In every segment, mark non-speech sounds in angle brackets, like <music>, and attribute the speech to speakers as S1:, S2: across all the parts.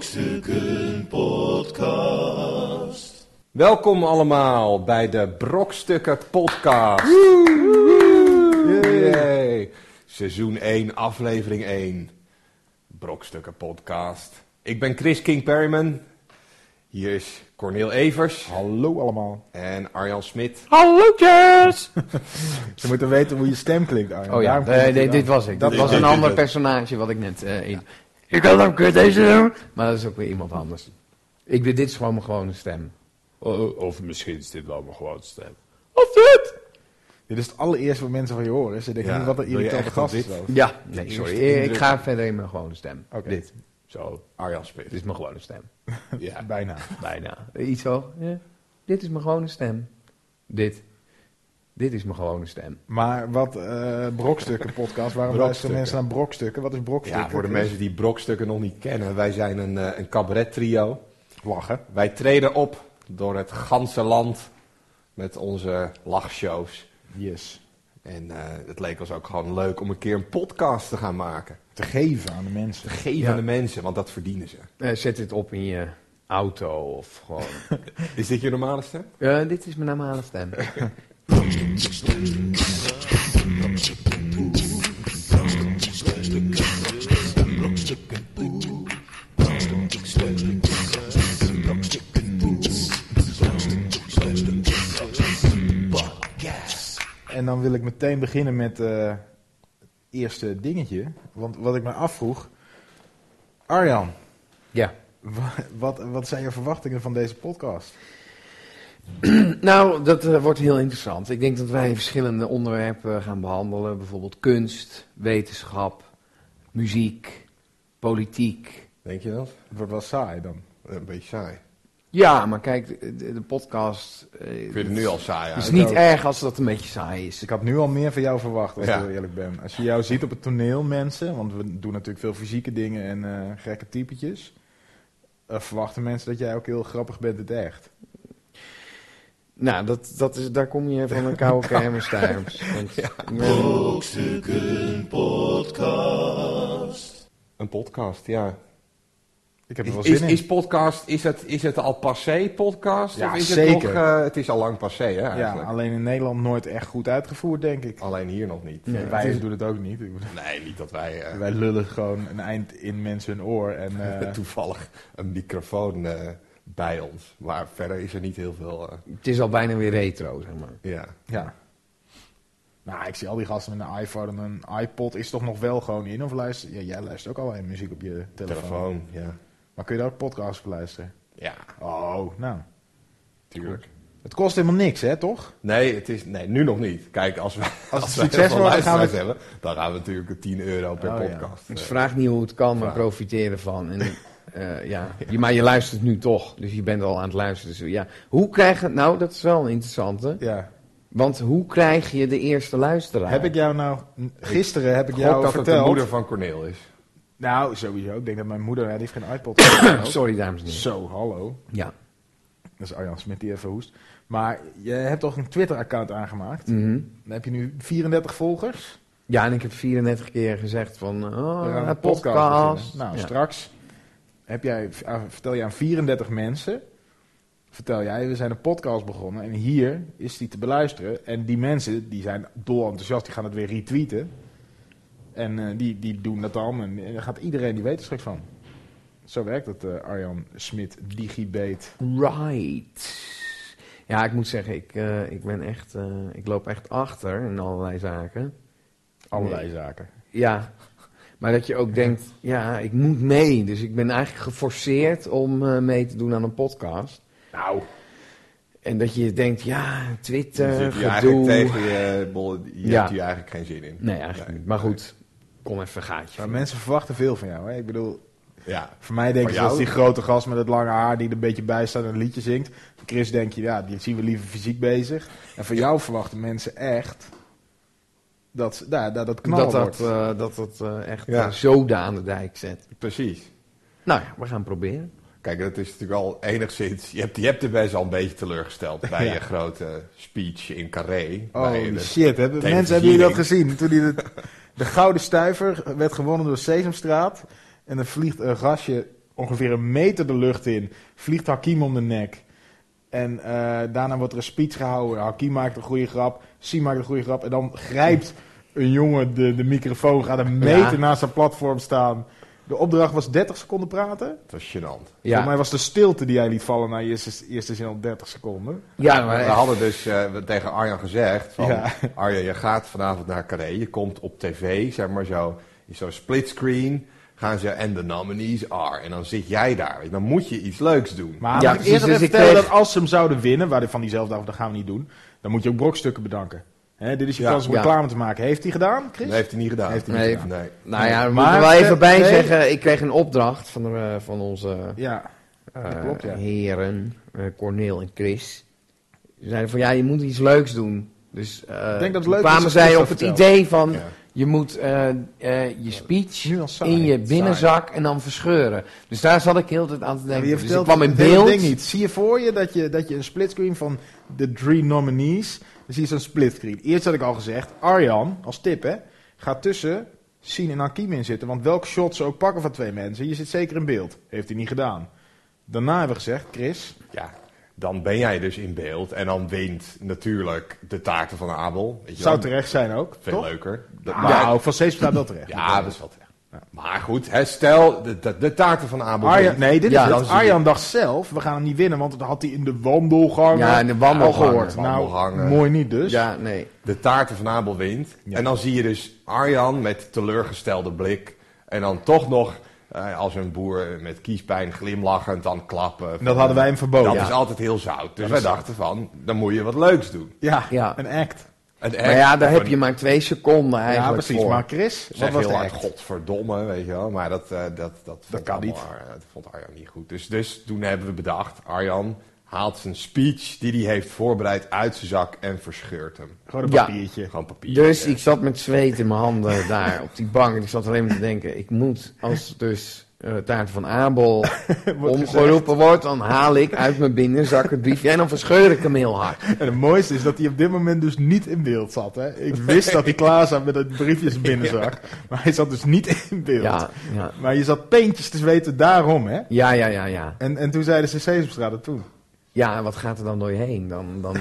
S1: Brokstukken Podcast.
S2: Welkom allemaal bij de Brokstukken Podcast. Yay. Seizoen 1, aflevering 1. Brokstukken Podcast. Ik ben Chris King Perryman. Hier is Cornel Evers
S3: Hallo allemaal.
S2: en Arjan Smit.
S4: Hallootjes!
S3: Ze moeten weten hoe je stem klinkt, Arjen.
S4: Oh ja,
S3: Daarom komt
S4: nee,
S3: het
S4: nee,
S3: eraan.
S4: dit was ik. Dat
S3: Dit-
S4: was
S3: dit-
S4: een
S3: dit-
S4: ander
S3: dit-
S4: personage wat ik net eh in. Ik kan ook weer deze doen. Maar dat is ook weer iemand anders. Ik, dit is gewoon mijn gewone stem.
S5: Oh, Of misschien is dit wel mijn grootste stem.
S4: Of dit?
S3: Dit is het allereerste wat mensen van je horen. Ze denken
S2: Ja,
S3: niet wat een
S2: wil je
S3: irritante
S2: echt op
S3: gast
S2: dit?
S3: is. dat.
S4: Ja, nee, sorry.
S2: Eerste
S4: Ik ga verder in mijn gewone stem.
S3: Oké.
S4: Dit.
S5: Zo,
S2: Arjan
S4: Dit
S2: Smit.
S4: is mijn gewone stem.
S5: ja,
S3: Bijna.
S4: Bijna. Iets zo. Ja. Dit is mijn gewone stem. Dit. Dit is mijn gewone stem.
S3: Maar wat eh, brokstukken podcast. Waarom
S2: Brokstukken.
S3: luisteren mensen naar brokstukken? Wat is brokstukken?
S2: Ja, voor de mensen die Brokstukken nog niet kennen, wij zijn een, eh, een cabaret trio.
S3: Lachen.
S2: Wij treden op door het ganse land met onze lachshows.
S3: Yes.
S2: En eh, het leek ons ook gewoon leuk om een keer een podcast te gaan maken.
S3: Te geven aan de mensen.
S2: Geef aan de mensen, want dat verdienen ze.
S4: Eh, zet dit op in je auto of gewoon. <laughs>
S2: Is dit je normale stem?
S4: Eh, dit is mijn normale stem.
S3: En dan wil ik meteen beginnen met eh, het eerste dingetje. Want wat ik me afvroeg. Arjan,
S4: Ja.
S3: wa- wat, wat zijn je verwachtingen van deze podcast?
S4: Nou, dat eh, wordt heel interessant. Ik denk dat wij verschillende onderwerpen eh, gaan behandelen. Bijvoorbeeld kunst, wetenschap, muziek, politiek.
S2: Denk je dat?
S3: Het wordt wel saai dan.
S2: Een beetje saai.
S4: Ja, maar kijk, de, de podcast eh,
S2: Ik vind het nu al saai
S4: is
S2: uit.
S4: niet
S3: ook.
S4: erg als dat een beetje saai is.
S3: Dus Ik had nu al meer van jou verwacht, als
S2: Ja.
S3: ik heel eerlijk ben. Als je jou ziet op het toneel, mensen, want we doen natuurlijk veel fysieke dingen en eh, gekke typetjes. eh, verwachten mensen dat jij ook heel grappig bent in het echt.
S4: Nou, dat, dat is, daar kom je van een
S2: <laughs>
S4: koude kermis thuis. Want, eh,
S1: Brokstukken Podcast.
S2: Een podcast, ja.
S3: Ik heb er wel
S2: Is,
S3: zin
S2: is,
S3: in.
S2: is podcast, is het, is het al passé podcast?
S3: Ja,
S2: of is
S3: zeker.
S2: het nog, eh, het is al lang passé hè,
S3: ja,
S2: eigenlijk.
S3: alleen in Nederland nooit echt goed uitgevoerd, denk ik.
S2: Alleen hier nog niet. Eh,
S4: Nee.
S3: wij
S4: het is-
S3: doen het ook niet. Ik bedoel,
S2: Nee, niet dat wij eh,
S3: Wij lullen gewoon een eind in mensen hun oor. En,
S2: <laughs>
S3: eh,
S2: toevallig een microfoon eh, bij ons. Maar verder is er niet heel veel... eh,
S4: het is al bijna weer retro, zeg maar.
S2: ja.
S3: ja. Nou, ik zie al die gasten met een iPhone en een iPod. Is toch nog wel gewoon in? Of luister... Ja, jij luistert ook alleen muziek op je telefoon.
S2: Telefoon, ja.
S3: Maar kun je daar ook podcasts op luisteren?
S2: Ja,
S3: Oh, nou.
S2: tuurlijk.
S3: Het kost helemaal niks, hè, toch?
S2: Nee, het is, nee, nu nog niet. Kijk, als we
S3: het
S2: wij
S3: succes
S2: heel veel
S3: wordt, dan gaan we
S2: luisteraars hebben, dan gaan we natuurlijk 10 euro per
S3: Oh, ja.
S2: podcast.
S4: Dus
S2: eh,
S4: vraag niet hoe het kan, maar
S2: vraag.
S4: profiteer ervan. En, eh, ja. Je, maar je luistert nu toch, dus je bent al aan het luisteren. Dus, ja. Hoe krijg je, nou dat is wel een interessante,
S3: Ja.
S4: want hoe krijg je de eerste luisteraar?
S3: Heb ik jou nou... Gisteren heb ik
S2: Ik hoop
S3: jou
S2: dat het de
S3: verteld...
S2: moeder van Corneel is.
S3: Nou, sowieso. Ik denk dat mijn moeder... Ja, die heeft geen iPod. <coughs> Zo,
S4: Oh, Sorry dames en heren.
S3: Zo, hallo.
S4: Ja.
S3: Dat is Arjan Smit die even hoest. Maar je hebt toch een Twitter-account aangemaakt?
S4: Mhm.
S3: Dan heb je nu 34 volgers.
S4: Ja, en ik heb 34 keer gezegd van, oh,
S3: We gaan
S4: een podcast.
S3: beginnen. Nou,
S4: Ja.
S3: straks heb jij, ah, vertel jij aan 34 mensen... Vertel jij, we zijn een podcast begonnen en hier is die te beluisteren. En die mensen, die zijn dol enthousiast, die gaan het weer retweeten. En eh, die, die doen dat dan en, en dan gaat iedereen, die weet er straks van. Zo werkt het, eh, Arjan Smit, digibate.
S4: Right. Ja, ik moet zeggen, ik, eh, ik ben echt, eh, ik loop echt achter in allerlei zaken.
S3: Allerlei
S4: Nee.
S3: zaken.
S4: Ja, maar dat je ook denkt, ja, ik moet mee. Dus ik ben eigenlijk geforceerd om eh, mee te doen aan een podcast.
S3: Nou,
S4: En dat je denkt, ja,
S2: Je
S4: Twitter,
S2: zit hier
S4: gedoe.
S2: eigenlijk tegen je eh, bol, je
S4: Ja.
S2: hebt hier eigenlijk geen zin in.
S4: Nee, eigenlijk
S2: Nee.
S4: niet. Maar goed, kom even een gaatje.
S3: maar mensen verwachten veel van jou. Hè? Ik bedoel,
S2: Ja.
S3: Voor mij denk
S2: Voor
S3: je
S2: jou?
S3: dat is die grote gast met het lange haar die er een beetje bij staat en een liedje zingt. Voor Chris denk je, ja, die zien we liever fysiek bezig. En voor jou verwachten mensen echt dat ze- nou, dat, dat knallen
S4: dat dat,
S3: wordt.
S4: eh, dat, dat eh, echt
S2: Ja.
S4: eh, zoden aan de dijk zet.
S2: Precies.
S4: Nou ja, we gaan proberen.
S2: Kijk, dat is natuurlijk al enigszins... Je hebt, je hebt de best al een beetje
S3: <laughs>
S2: teleurgesteld bij
S3: Ja.
S2: je grote speech in Carré. bij
S3: oh
S2: de-
S3: shit, hebben,
S2: televisie-
S3: mensen hebben jullie dat gezien? Toen die de, de gouden stuiver werd gewonnen door Sesamstraat en er vliegt een gastje ongeveer een meter de lucht in. Vliegt Hakim om de nek. En eh, daarna wordt er een speech gehouden. Hakim maakt een goede grap. Si maakt een goede grap. En dan grijpt een jongen de, de microfoon. Gaat een meter
S4: Ja.
S3: naast zijn platform staan. De opdracht was 30 seconden praten.
S2: Het was gênant.
S3: Voor
S4: Ja,
S3: mij was de stilte die jij liet vallen na je eerste, eerste zin al 30 seconden.
S4: ja
S2: We
S4: maar
S2: hadden dus eh, we- tegen Arjan gezegd van...
S3: Ja.
S2: Arjan, je gaat vanavond naar Carré. Je komt op tv, zeg maar zo, in zo'n splitscreen. Gaan ze, en de nominees are. En dan zit jij daar. weet je. Dan moet je iets leuks doen.
S3: Maar
S4: Ja,
S3: ja,
S4: precies,
S3: eerder
S4: dus
S3: even
S4: ik
S3: vertellen
S4: kreeg-
S3: dat als ze hem zouden winnen, waar van diezelfde dag, dat gaan we niet doen, dan moet je ook brokstukken bedanken. Hè, dit is je
S2: Ja.
S3: kans om
S4: Ja.
S3: reclame te maken. Heeft hij gedaan, Chris?
S2: dat heeft hij niet gedaan.
S3: Heeft
S4: hij niet Nee.
S2: Nee.
S4: Nou ja,
S3: Nee.
S4: we moeten
S3: Maar,
S4: wel even
S3: eh,
S4: bij
S3: nee.
S4: zeggen. Ik kreeg een opdracht van, de, eh, van onze
S3: Ja.
S4: eh,
S3: dat klopt, ja.
S4: heren, eh, Corneel en Chris. Ze zeiden van ja, je moet iets leuks doen. Dus eh,
S3: Ik denk dat het
S4: toen
S3: leuk is
S4: kwamen
S3: als
S4: zij
S3: Chris
S4: op
S3: dat
S4: het
S3: vertelt.
S4: idee van
S2: Ja.
S4: je moet eh, eh, je speech
S3: Nu al saai.
S4: in je
S3: Saai.
S4: binnenzak en dan verscheuren. Dus daar zat ik heel de tijd aan te
S3: Ja, maar
S4: denken.
S3: je
S4: dus ik
S3: vertelt
S4: kwam in
S3: het hele
S4: beeld.
S3: ding niet. Zie je voor je dat je, dat je een splitscreen van de drie nominees, dan zie je zo'n splitscreen. Eerst had ik al gezegd, Arjan, als tip hè, ga tussen Sien en Hakim in zitten. Want welk shot ze ook pakken van twee mensen, je zit zeker in beeld. Heeft hij niet gedaan. Daarna hebben we gezegd, Chris,
S2: Ja, dan ben jij dus in beeld. En dan wint natuurlijk de taarten van Abel. Weet je
S3: zou
S2: wel.
S3: terecht zijn ook,
S2: Veel
S3: toch?
S2: leuker. Dat- maar-
S3: Nou, van Sees staat wel terecht.
S2: ja, dat is wel terecht. Maar goed, hè, stel, de, de, de taarten van Abel.
S3: Arjan, nee, dit
S4: Ja,
S3: is
S2: dan
S3: het.
S2: zie je-
S3: Arjan dacht zelf, we gaan hem niet winnen, want dat had hij in de wandelgangen
S4: Ja, in de
S3: al
S4: wandelgangen.
S3: gehoord. Nou,
S2: Wandelgangen.
S3: mooi niet dus.
S4: Ja, nee.
S2: De taarten van Abel wint.
S3: Ja.
S2: En dan zie je dus Arjan met teleurgestelde blik. En dan toch nog eh, als een boer met kiespijn glimlachend dan klappen.
S3: En Dat hadden wij hem verboden.
S2: Dat
S3: Ja.
S2: is altijd heel zout. Dus wij dachten van, dan moet je wat leuks doen.
S3: Ja,
S4: Ja.
S3: een act.
S2: Een act
S4: Maar ja, daar
S2: of
S4: heb je
S2: een-
S4: maar twee seconden
S3: Ja,
S4: eigenlijk
S3: precies.
S4: voor.
S3: Maar Chris, wat
S2: Zeg
S3: was
S2: heel
S3: de
S2: hard,
S3: act?
S2: godverdomme, weet je wel. Maar dat, eh, dat, dat, vond
S3: kan
S2: allemaal
S3: niet.
S2: Ar- dat vond Arjan niet goed. Dus, dus toen hebben we bedacht, Arjan haalt zijn speech die hij heeft voorbereid uit zijn zak en verscheurt hem.
S3: Gewoon een
S4: Ja.
S3: papiertje.
S2: Gewoon papier.
S4: Dus ik zat met zweet in mijn
S2: <laughs>
S4: handen daar op die bank. En ik zat alleen maar te denken, ik moet, als dus eh taart
S2: <laughs>
S4: van Abel omgeroepen wordt, dan haal ik uit mijn binnenzak het briefje en dan verscheur ik hem heel hard.
S3: En het mooiste is dat hij op dit moment dus niet in beeld zat. Hè? Ik wist dat hij klaar zat met het briefje
S4: <laughs>
S3: in zijn binnenzak. Maar hij zat dus niet in beeld.
S4: Ja, ja,
S3: Maar je zat peentjes te zweten daarom, hè?
S4: ja, ja, ja. Ja,
S3: En, en toen zeiden ze Sesamstraat dat toen.
S4: ja en wat gaat er dan door je heen? Dan, dan,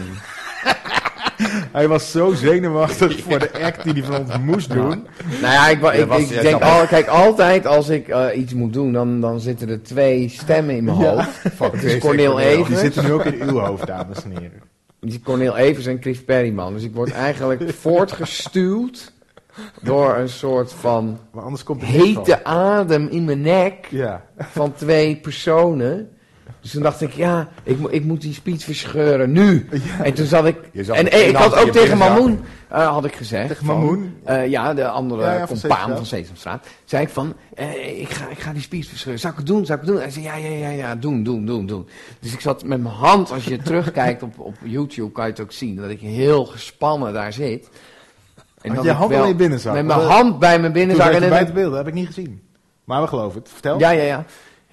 S3: Hij was zo
S4: <laughs>
S3: zenuwachtig voor de act die hij van ons moest doen.
S4: Nou ja, ik, wa-
S2: Ja,
S4: ik,
S2: was-
S4: ik
S2: jij
S4: denk
S2: kan-
S4: al, kijk, altijd als ik eh, iets moet doen, dan, dan zitten er twee stemmen in mijn
S3: Ja.
S4: hoofd.
S2: Fuck,
S4: Het
S2: Chris
S4: is
S2: en
S4: Cornel
S2: Cornel.
S3: Die
S4: Evers.
S3: zitten nu ook in uw hoofd, dames en heren.
S4: Die Cornel Evers en Chris Perryman. Dus ik word eigenlijk voortgestuwd door een soort van
S3: Maar anders komt het
S4: hete adem in mijn nek
S3: Ja.
S4: van twee personen. Dus toen dacht ik, ja, ik, mo- ik moet die speech verscheuren, nu. En toen zat ik...
S2: Je zat
S4: en
S2: met
S4: eh,
S2: één
S4: ik
S2: hand
S4: had
S2: in
S4: ook
S2: je
S4: tegen
S2: binnenzak.
S4: Mamoen, eh, had ik gezegd.
S3: Tegen
S4: van,
S3: Mamoen?
S4: eh, ja, de andere
S3: Ja, ja, van
S4: compaan
S3: Sesamstraat.
S4: van Sesamstraat. Zei ik van, eh, ik, ga, ik ga die speech verscheuren. Zou ik het doen? Zou ik het doen? Hij zei, ja, ja, ja, ja, doen, doen, doen, doen. Dus ik zat met mijn hand, als je <laughs> terugkijkt op, op YouTube, kan je het ook zien. Dat ik heel gespannen daar zit.
S3: Had
S4: En dat
S3: je
S4: ik
S3: hand
S4: wel
S3: al in je binnenzak?
S4: Met
S3: Want,
S4: mijn
S3: eh,
S4: hand bij mijn
S3: Toen
S4: binnenzak.
S3: zat
S4: En
S3: je
S4: het-
S3: bij het beelden, heb ik niet gezien. Maar we geloven het. Vertel.
S4: ja, ja, ja.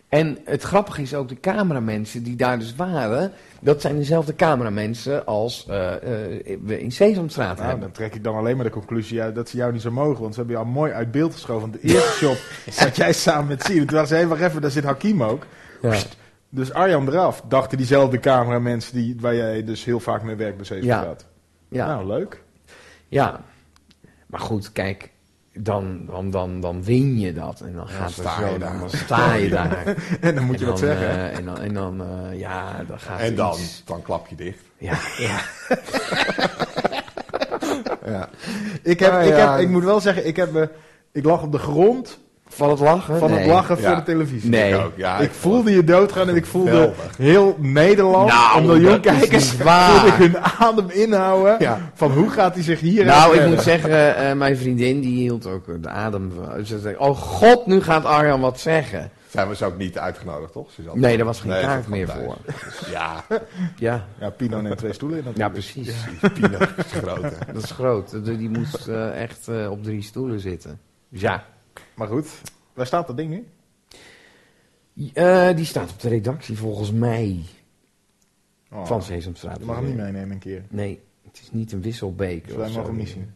S4: En het grappige is ook de cameramensen die daar dus waren. Dat zijn dezelfde cameramensen als eh, eh, we in Sesamstraat
S3: Nou,
S4: hebben.
S3: dan trek ik dan alleen maar de conclusie uit dat ze jou niet zo mogen. Want ze hebben jou mooi uit beeld geschoven. Want de eerste <laughs> shop zat jij samen met Sien. Toen waren ze, hé, wacht even, daar zit Hakim ook.
S4: Ja.
S3: Dus Arjan eraf, dachten diezelfde cameramensen die, waar jij dus heel vaak mee werkt bij Zeven
S4: Ja.
S3: Straat.
S4: Ja.
S3: Nou, leuk. <laughs>
S4: ja. Maar goed, kijk. Dan, dan, dan, dan win je dat. En dan, gaat
S2: sta
S4: het
S2: je
S4: zo,
S2: daar.
S4: dan sta je daar.
S3: En dan moet je
S4: En
S3: wat
S4: dan,
S3: zeggen.
S4: eh, en dan, en dan eh, ja, dan gaat
S2: En
S4: er
S2: dan,
S4: iets-
S2: dan klap je dicht.
S4: Ja, ja.
S3: ik, heb,
S2: nou
S3: ik,
S2: ja.
S3: heb, ik moet wel zeggen, ik, heb, me- ik lag op de grond
S4: Van het lachen?
S3: van het
S4: Nee.
S3: lachen voor
S2: Ja.
S3: de televisie.
S4: Nee.
S2: Ik ook, ja.
S3: ik voelde je doodgaan en ik voelde
S2: Geweldig.
S3: heel Nederland,
S4: Nou,
S3: een miljoen
S4: dat is
S3: kijkers, <laughs>
S4: niet waar.
S3: voelde ik hun adem inhouden.
S2: Ja.
S3: Van hoe gaat hij zich hier
S4: Nou, ik
S3: redden?
S4: moet zeggen, eh, mijn vriendin die hield ook de adem. van- Ze zei, oh god, nu gaat Arjan wat zeggen.
S2: Zij was dus ook niet uitgenodigd, toch? Suzanne?
S4: Nee, daar was geen
S2: Nee, ze
S4: kaart
S2: kwam
S4: meer
S2: thuis.
S4: voor.
S2: Ja,
S4: Ja,
S3: Ja, Pino neemt twee stoelen in.
S4: ja
S3: natuurlijk.
S4: precies.
S2: Pino is
S4: <laughs>
S2: groot. hè.
S4: Dat is groot. Die die moest eh, echt eh, op drie stoelen zitten. Dus ja.
S3: Maar goed, waar staat dat ding nu?
S4: Eh, die staat op de redactie volgens mij
S3: Oh,
S4: van Sesamstraat.
S3: Je mag hem niet meenemen een keer.
S4: Nee, het is niet een wisselbeker.
S3: Dus
S4: of
S3: wij
S4: zo.
S3: mogen hem niet zien.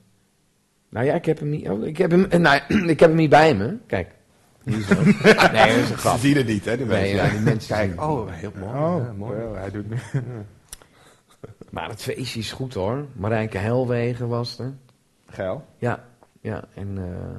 S4: <clears throat> Nou ja, ik heb hem niet, oh, ik heb hem, eh, nou, ik heb hem niet bij me. Kijk. Niet zo. nee, <laughs> dat is een grap.
S2: Ze zien het niet, hè, de
S4: Nee,
S2: mensen.
S4: ja, die mensen
S2: Kijk,
S4: zien-
S2: oh, heel mooi. ja, mooi.
S3: wel, hij doet nu.
S4: Maar het feestje is goed hoor. Marijke Helwegen was er.
S3: Geil.
S4: Ja, ja. En, eh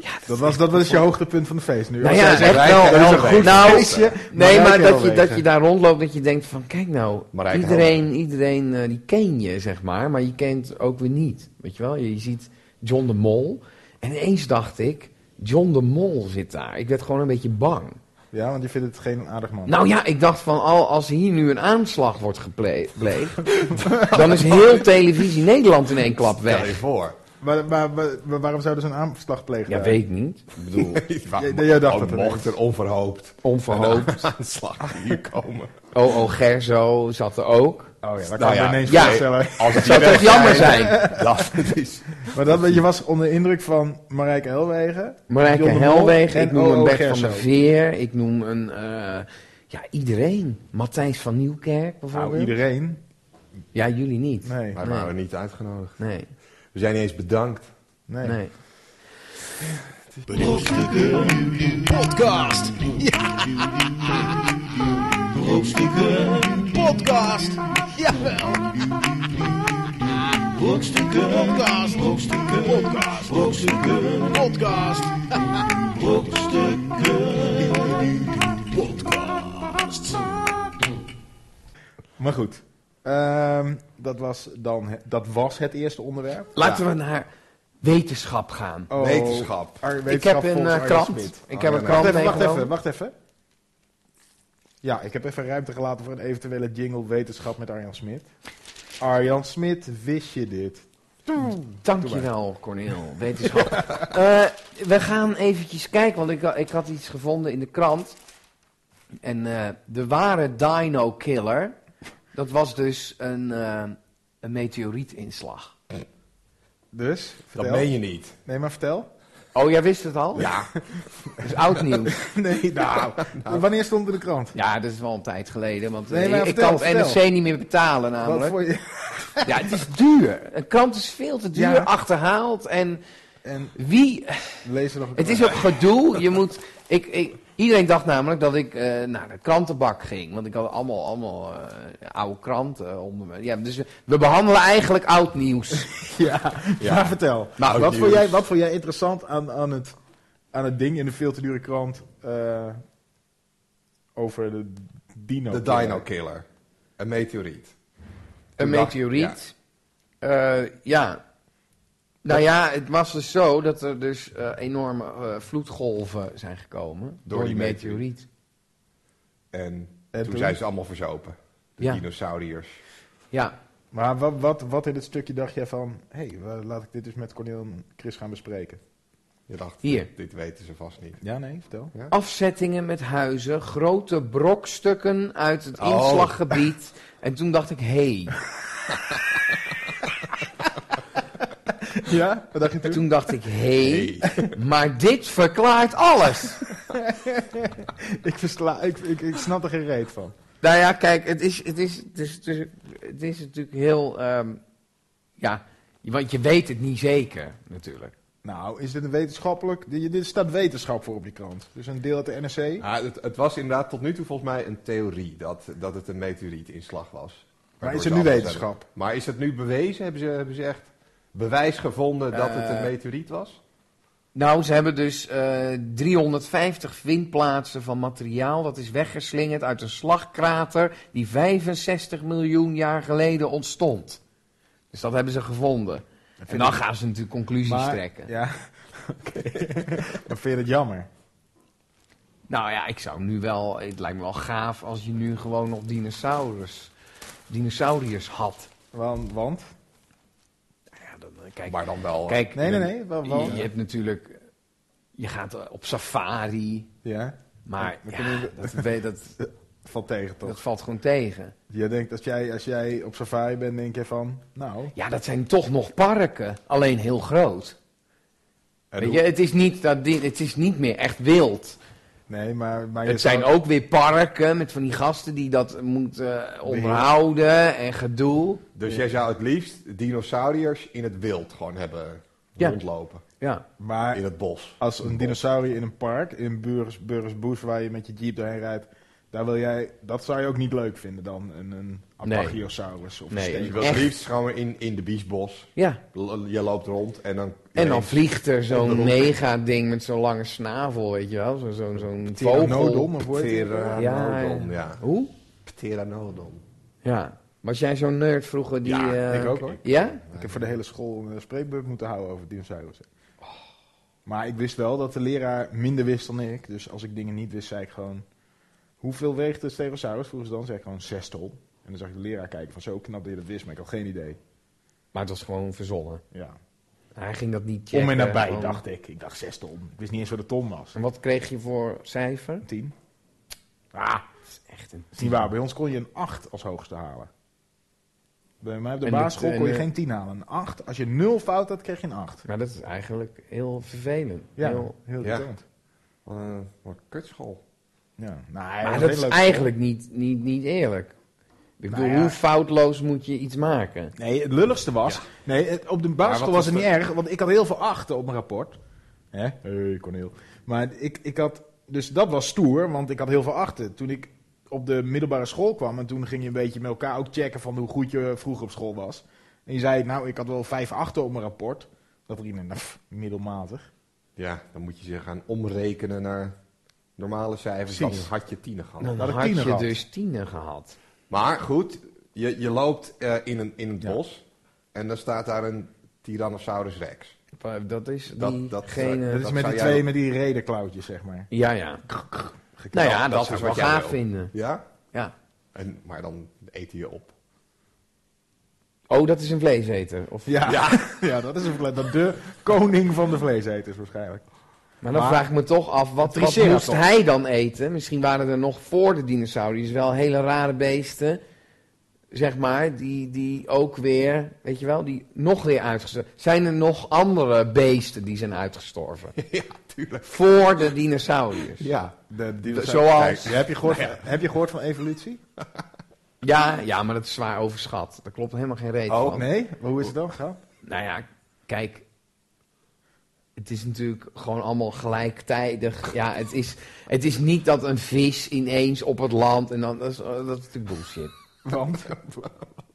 S4: ja,
S3: Dat was, dat was je hoogtepunt van de feest nu.
S4: Nou
S3: Als jij
S4: ja,
S3: zegt,
S4: echt wel.
S3: dat is een
S4: Helwegen.
S3: goed
S4: Nou,
S3: feestje.
S4: Nee, maar
S3: Marijke
S4: dat je, dat
S3: Helwegen.
S4: je daar rondloopt, dat je denkt van, kijk nou,
S2: Marijke
S4: iedereen, iedereen eh, die ken je, zeg maar, maar je kent ook weer niet, weet je wel. Je, je ziet John de Mol en ineens dacht ik, John de Mol zit daar. Ik werd gewoon een beetje bang.
S3: Ja, want je vindt het geen aardig man.
S4: Nou ja, ik dacht van, al als hier nu een aanslag wordt gepleegd, <laughs> dan is heel televisie Nederland in één klap
S2: Stel je
S4: weg.
S2: voor.
S3: Maar, maar, maar- maar waarom zouden ze een aanslag plegen?
S4: Ja,
S3: daar?
S4: weet ik niet. Ik bedoel,
S2: Waar-
S3: jij dacht
S2: oh,
S3: het
S2: mocht
S3: ineens.
S2: er onverhoopt
S4: onverhoopt.
S2: een <laughs> aanslag hier
S4: <laughs>
S2: komen.
S4: O.O. Gerzo zat er ook.
S3: Oh ja, dat kan
S2: Nou
S3: ik
S2: ja,
S3: me ineens
S4: ja.
S3: voorstellen.
S2: Als het
S4: zou
S2: hier
S4: toch
S2: weg
S4: jammer zijn?
S2: <laughs> Dat het is.
S3: Maar dat, je was onder indruk van Marijke Helwegen.
S4: Marijke
S3: John de Mol
S4: Helwegen,
S3: en
S4: ik noem
S3: O.O.
S4: een Bert van
S3: Gerso. Nou,
S4: der Veer, ik noem een, eh, ja, iedereen. Matthijs van Nieuwkerk bijvoorbeeld.
S3: Nou, iedereen.
S4: Ja, jullie niet. <laughs> Nee,
S3: Nee,
S2: Wij
S4: Nee.
S2: waren niet uitgenodigd.
S4: nee.
S2: We zijn niet eens bedankt.
S3: nee.
S1: Podcast. Ja. Brokstukken podcast. Jawel. Brokstukken podcast. Brokstukken podcast. Brokstukken podcast. Brokstukken podcast.
S3: Maar goed. Ehm, dat, was dan, he- dat was het eerste onderwerp.
S4: Laten we naar wetenschap gaan.
S3: Oh,
S2: Wetenschap.
S3: Ar-
S4: ik heb
S3: wetenschap
S4: een
S3: volgens
S4: eh,
S3: Arjen Smit. Oh,
S4: krant. Ik heb
S2: ja,
S4: een
S2: nou.
S4: krant
S3: Wacht even, wacht even,
S4: meegenomen.
S3: wacht even. Ja, ik heb even ruimte gelaten voor een eventuele jingle wetenschap met Arjan Smit. Arjan Smit, wist je dit?
S4: Dankjewel, Corneel.
S3: <laughs>
S4: Wetenschap. Eh, we gaan eventjes kijken, want ik, ha- ik had iets gevonden in de krant. En eh, de ware Dino Killer, dat was dus een, eh, een meteorietinslag.
S3: Dus,
S2: Dat
S3: vertel.
S2: meen je niet.
S3: Nee, maar vertel.
S4: Oh, jij wist het al?
S2: Ja,
S4: <laughs> Dat is oud nieuws.
S3: <laughs> Nee, nou. Wanneer stond het in de krant?
S4: Ja, dat is wel een tijd geleden, want
S3: Nee,
S4: eh,
S3: maar
S4: ik,
S3: vertel,
S4: kan het
S3: vertel.
S4: NRC niet meer betalen
S3: Wat
S4: namelijk.
S3: voor je...
S4: Ja, het is duur. Een krant is veel te duur,
S3: Ja.
S4: achterhaald. En
S3: En
S4: wie...
S3: lees er nog een
S4: Het is ook gedoe. Je moet... Ik, ik, iedereen dacht namelijk dat ik eh, naar de krantenbak ging. Want ik had allemaal, allemaal eh, oude kranten onder me. Ja, dus we- we behandelen eigenlijk oud nieuws.
S3: <laughs> Ja, ja. maar vertel.
S2: Nou,
S3: wat,
S2: nieuws.
S3: vond jij, wat vond jij interessant aan, aan, het, aan het ding in de veel te dure krant eh, over de dino?
S2: de Dino Killer. Een meteoriet.
S4: Een
S2: Toen dacht-
S4: meteoriet. Ja. ja. Nou ja, het was dus zo dat er dus eh, enorme eh, vloedgolven zijn gekomen. Door,
S2: die
S4: die
S2: meteoriet.
S4: meteoriet.
S2: En,
S3: En
S2: toen,
S3: toen?
S2: zijn ze allemaal verzopen. De
S4: Ja.
S2: dinosauriërs.
S4: Ja.
S3: Maar wat, wat, wat in het stukje dacht jij van, hé, hey, laat ik dit dus met Cornel en Chris gaan bespreken?
S2: Je dacht,
S4: Hier.
S2: dit- dit weten ze vast niet.
S3: Ja, nee, vertel.
S4: Afzettingen met huizen, grote brokstukken uit het
S2: Oh.
S4: inslaggebied. <laughs> En toen dacht ik, hé. Hey.
S3: <laughs> Ja, wat dacht je toen?
S4: Toen dacht ik, hé. Hey. Maar dit verklaart alles.
S3: ik, versla, ik, ik, ik snap er geen reet van.
S4: nou ja, kijk, het is, het is, het is, het is, het is natuurlijk heel. ehm, ja, want je weet het niet zeker, natuurlijk.
S3: Nou, is dit een wetenschappelijk... Dit dit staat wetenschap voor op die krant. Dus een deel uit de NRC.
S2: Ah, het, het was inderdaad tot nu toe volgens mij een theorie dat, dat het een meteorietinslag was. Waardoor
S3: is
S2: ze
S3: het nu
S2: alles
S3: wetenschap?
S2: hebben. Maar is het nu bewezen? Hebben ze, hebben ze echt bewijs gevonden dat het een
S4: Eh,
S2: meteoriet was?
S4: Nou, ze hebben dus eh, 350 vindplaatsen van materiaal dat is weggeslingerd uit een slagkrater die 65 miljoen jaar geleden ontstond. Dus dat hebben ze gevonden. En dan gaan ze natuurlijk conclusies trekken.
S3: Ja, <laughs> oké. Maar vind je het jammer?
S4: Nou ja, ik zou nu wel. Het lijkt me wel gaaf als je nu gewoon nog dinosaurus, dinosauriërs had.
S3: Want? want?
S4: Ja, dan, eh, kijk,
S2: maar dan wel.
S4: kijk
S3: Nee, nee,
S4: dan-
S3: nee. wa-
S4: Je,
S3: want?
S4: je hebt natuurlijk. Je gaat eh, op safari.
S3: Ja.
S4: Maar
S3: Dan
S4: ja,
S3: kunnen
S4: dat, weet- dat,
S3: Valt tegen toch?
S4: dat valt gewoon tegen.
S3: Jij denkt als jij, als jij op safari bent, denk je van, nou.
S4: Ja, dat zijn toch nog parken. Alleen heel groot.
S2: En
S4: Weet
S2: hoe-
S4: je, het, is niet, dat, di- het is niet meer echt wild.
S3: Nee, maar. maar je
S4: Het zijn
S3: zou-
S4: ook weer parken met van die gasten die dat moeten onderhouden en gedoe.
S2: dus jij zou het liefst dinosauriërs in het wild gewoon hebben
S4: Ja.
S2: rondlopen.
S4: Ja.
S3: Maar
S2: in het bos.
S3: als een dinosaurier in een park, in Burgers, Burgers Bush, waar je met je jeep doorheen rijdt, daar wil jij, dat zou je ook niet leuk vinden dan, een, een
S4: Nee.
S3: apachiosaurus of
S4: Nee.
S3: een
S2: Je
S3: steek.
S2: wil
S4: Echt?
S2: het liefst gewoon in, in de biesbos.
S4: Ja.
S2: L- Je loopt rond en dan...
S4: En dan vliegt er zo'n
S2: Onderhoek.
S4: mega ding met zo'n lange snavel, weet je wel? Zo'n zo'n zo'n
S3: Pteranodon
S4: vogel.
S3: of hoe heet die?
S2: Pteranodon, ja.
S4: Hoe?
S2: Pteranodon.
S4: Ja. Was jij zo'n nerd vroeger die...
S2: Ja,
S4: eh,
S3: Ik ook hoor.
S4: Ja?
S3: Ik heb voor de hele school een eh, spreekbeurt moeten houden over dinosaurussen. Maar ik wist wel dat de leraar minder wist dan ik. Dus als ik dingen niet wist, zei ik gewoon... Hoeveel weegt de stegosaurus? Vroegen ze dan, zei ik gewoon zes ton. En dan zag ik de leraar kijken van zo knap dat je dat wist, maar ik had geen idee.
S4: Maar het was gewoon verzonnen.
S3: Ja.
S4: Hij ging dat niet checken.
S3: Om en nabij,
S4: gewoon.
S3: dacht ik. Ik dacht zes ton. Ik wist niet eens wat de ton was.
S4: En wat kreeg je voor cijfer?
S3: Een tien. Ah,
S4: Dat is echt een...
S3: dat is niet waar. Bij ons kon je een acht als hoogste halen. Bij mij op de
S4: En
S3: basisschool
S4: dat,
S3: kon je
S4: eh,
S3: geen tien halen. Een acht. Als je nul fout had, kreeg je een acht.
S4: Maar dat is eigenlijk heel vervelend.
S3: Ja, heel
S4: Heel...
S2: Ja.
S3: irritant.
S2: Wat een, wat een kutschool.
S3: Ja. Nee,
S4: Maar
S3: was
S4: dat
S3: heel
S4: is
S3: leuk.
S4: eigenlijk niet, niet, niet eerlijk. Ik
S3: Nou
S4: bedoel,
S3: ja.
S4: hoe foutloos moet je iets maken?
S3: Nee, het lulligste was. Nee, het- op de basisschool
S2: Maar
S3: was
S2: wat
S3: het
S2: is
S3: niet erg, want ik had heel veel achten op mijn rapport. Hè? Hey, Cornel. Maar ik, ik had. Dus dat was stoer, want ik had heel veel achten. Toen ik op de middelbare school kwam en toen ging je een beetje met elkaar ook checken van hoe goed je vroeger op school was. En je zei, nou, ik had wel vijf achten op mijn rapport. Dat riemen, nou, pff, middelmatig.
S2: Ja, dan moet je ze gaan omrekenen naar normale cijfers. Dan
S3: Precies.
S2: had je tienen gehad.
S4: Dan
S3: had
S4: had,
S3: ik tiener
S4: je
S3: gehad.
S4: dus tienen gehad.
S2: Maar goed, je, je loopt eh, in, een, in het
S3: Ja.
S2: bos en dan staat daar een Tyrannosaurus rex.
S4: Dat is
S2: Dat-
S4: diegene...
S2: dat-
S3: Dat is
S2: dat zou
S3: met die
S2: jij
S3: twee,
S2: ook-
S3: met die redenklauwtjes, zeg maar.
S4: Ja, ja. Nou ja, dat,
S2: is
S4: zou ik
S2: wat
S4: wel
S2: jij
S4: gaaf
S2: wil.
S4: vinden.
S2: Ja?
S4: Ja.
S2: En, maar dan eet hij je op. <laughs>
S4: Oh, dat is een vleeseter. Of...
S3: Ja, <laughs> ja. dat is een, vle- dat de koning van de vleeseters waarschijnlijk.
S4: Maar dan
S3: Maar-
S4: vraag ik me toch af, wat, wat
S3: Triceratops.
S4: moest hij dan eten? Misschien waren er nog voor de dinosauriërs wel hele rare beesten, zeg maar, die, die ook weer, weet je wel, die nog weer uitgestorven. Zijn er nog andere beesten die zijn <laughs> uitgestorven?
S2: ja, tuurlijk.
S4: voor de dinosauriërs?
S3: Ja, de, dinosaurus-
S4: zoals-
S3: Kijk, heb, je gehoord, heb je gehoord van evolutie?
S4: Ja, ja, maar dat is zwaar overschat. Daar klopt helemaal geen reden
S2: Oh,
S4: van.
S3: Nee? Maar hoe is het dan gegaan?
S4: Nou ja, kijk. Het is natuurlijk gewoon allemaal gelijktijdig. Ja, het is, het is niet dat een vis ineens op het land en dan. Dat is, oh, dat is natuurlijk bullshit.
S3: Want?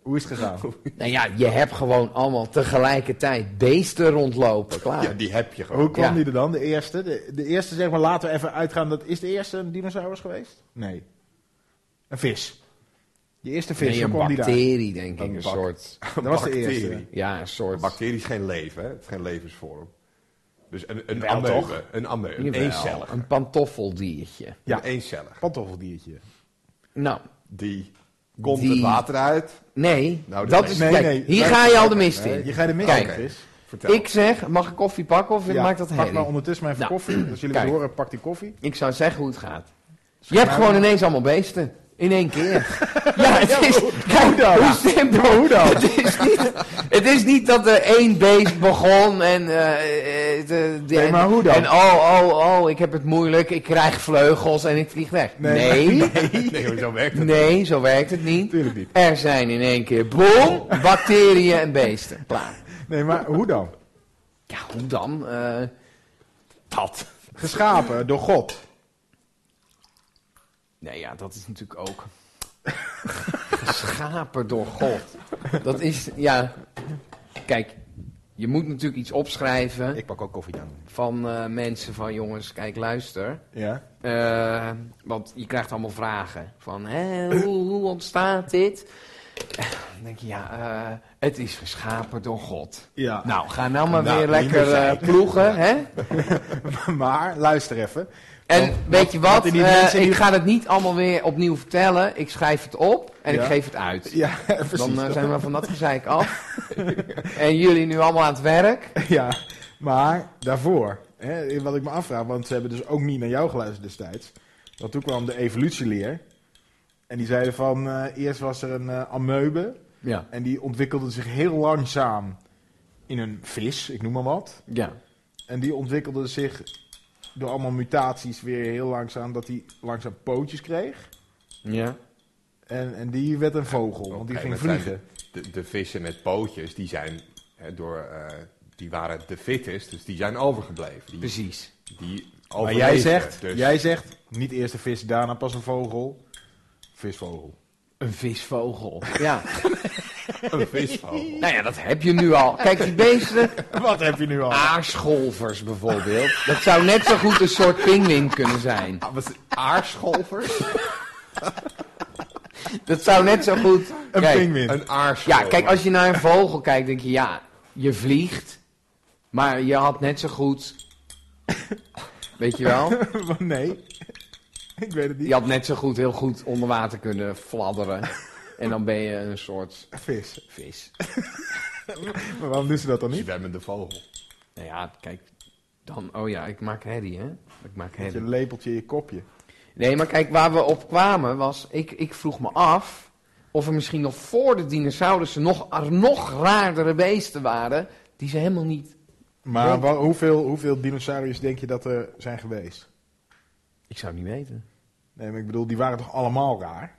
S3: Hoe is het
S4: <laughs>
S3: gegaan?
S4: Nou ja, je hebt gewoon allemaal tegelijkertijd beesten rondlopen. Klaar.
S2: Ja, die heb je gewoon.
S3: Hoe kwam
S4: Ja.
S3: die er dan, de eerste? De, de eerste, zeg maar, laten we even uitgaan. Dat, is de eerste een dinosaurus geweest? Nee. Een vis. Je eerste vis,
S4: nee,
S3: hoe
S4: een
S3: kwam die daar?
S4: bacterie, denk ik.
S2: Een
S4: Een
S2: bak-
S4: soort.
S3: Dat was de
S2: Bacterie.
S3: eerste.
S4: Ja, een soort.
S2: Bacterie is geen leven, hè? Het is geen levensvorm. Dus een, een
S3: Wel
S2: ameuge.
S3: toch?
S2: Een ameuge. Een
S4: Jawel,
S2: eencellig. Een
S4: Een pantoffeldiertje.
S3: Ja.
S2: eencellig.
S3: Pantoffeldiertje.
S4: Nou,
S2: Die komt
S4: Die-
S2: het water uit.
S4: nee.
S2: Nou, dat-
S4: dat
S2: nee,
S4: is,
S3: nee,
S4: kijk,
S3: nee.
S4: hier
S3: Nee,
S4: ga je al de mist
S3: Nee,
S4: in.
S3: je gaat de mist
S4: Kijk,
S3: in, Chris.
S2: Vertel.
S4: Ik zeg, mag ik koffie pakken of
S3: Ja,
S4: maakt dat
S3: Pak maar
S4: herrie?
S3: ondertussen maar even
S4: Nou,
S3: koffie. Als jullie
S4: kijk.
S3: het horen, pak die koffie.
S4: Ik zou zeggen hoe het gaat. Je hebt gewoon ineens allemaal beesten. In één keer. ja, het is... Kijk, hoe dan? simpel. Hoe dan? <laughs> Het is niet, het is niet dat er één beest begon en... eh, eh, de- de-
S3: Nee, maar hoe dan?
S4: En oh, oh, oh, ik heb het moeilijk, ik krijg vleugels en ik vlieg weg.
S3: Nee.
S4: Nee,
S3: <laughs>
S4: nee,
S2: Nee, maar zo werkt het.
S4: zo werkt het niet.
S3: Tuurlijk niet.
S4: Er zijn in één keer, boom, bacteriën en beesten. Klaar.
S3: Nee, maar hoe dan?
S4: Ja, hoe dan? Eh,
S2: Dat.
S3: Geschapen door God.
S4: Nee, ja, dat is natuurlijk ook. <laughs> Geschapen door God. Dat is, ja. Kijk, je moet natuurlijk iets opschrijven
S3: Ik pak ook koffie aan.
S4: van eh, mensen van jongens, kijk, luister.
S3: Ja.
S4: Eh, want je krijgt allemaal vragen van, hè, hoe, hoe ontstaat dit? Dan denk je, ja, eh, het is geschapen door God.
S3: Ja.
S4: Nou, ga nou maar
S2: Nou,
S4: weer
S2: niet
S4: lekker
S2: meer
S4: eh, ploegen, hè?
S3: <laughs> Maar, luister even.
S4: En
S3: Want-
S4: weet je wat?
S3: want in die
S4: Eh,
S3: mensen die-
S4: ik ga het niet allemaal weer opnieuw vertellen. Ik schrijf het op en
S3: Ja.
S4: ik geef het uit.
S3: Ja, <laughs> precies.
S4: Dan eh, zijn we van dat gezeik af. <laughs> en jullie nu allemaal aan het werk.
S3: <laughs> Ja, maar daarvoor, hè, wat ik me afvraag, want ze hebben dus ook niet naar jou geluisterd destijds. Want toen kwam de evolutieleer. En die zeiden van, eh, eerst was er een eh amoebe.
S4: Ja.
S3: En die ontwikkelde zich heel langzaam in een vis, ik noem maar wat.
S4: ja.
S3: En die ontwikkelde zich door allemaal mutaties weer heel langzaam, dat hij langzaam pootjes kreeg.
S4: Ja.
S3: En, en die werd een vogel, want die
S2: Op een
S3: ging
S2: gegeven moment
S3: vliegen.
S2: zijn De, de vissen met pootjes, die zijn hè, door eh, die waren de fittest, dus die zijn overgebleven. Die,
S4: Precies.
S2: die
S3: Maar
S2: overleefden,
S3: jij zegt,
S2: dus-
S3: jij zegt, niet eerst een vis, daarna pas een vogel. Visvogel.
S4: Een visvogel. Ja.
S2: <laughs> Een visvogel.
S4: nou ja, dat heb je nu al. Kijk, die beesten,
S3: <laughs> Wat heb je nu al?
S4: aarscholvers bijvoorbeeld. Dat zou net zo goed een soort pinguïn kunnen zijn.
S2: Ah, wat- Aarscholvers?
S4: Dat zou net zo goed...
S3: Een
S4: Kijk,
S3: pinguïn.
S2: <laughs> Een aarscholver.
S4: Ja, kijk, als je naar een vogel kijkt, denk je, ja, je vliegt. Maar je had net zo goed... Weet je wel?
S3: Maar <laughs> nee. Ik weet het niet.
S4: Je had net zo goed heel goed onder water kunnen fladderen. En dan ben je een soort
S3: Vis.
S4: vis.
S3: Maar waarom doen ze dat dan
S2: Een
S3: niet?
S2: zwemmende vogel.
S4: Nou ja, kijk, dan... Oh ja, ik maak herrie, hè? Ik maak
S3: Met
S4: herrie.
S3: je lepeltje in je kopje.
S4: Nee, maar kijk, waar we op kwamen was... Ik, ik vroeg me af of er misschien nog voor de dinosaurussen nog, er nog raardere beesten waren... die ze helemaal niet...
S3: Maar
S4: Nee.
S3: wa- hoeveel, hoeveel dinosauriërs denk je dat er zijn geweest?
S4: Ik zou het niet weten.
S3: Nee, maar ik bedoel, die waren toch allemaal raar?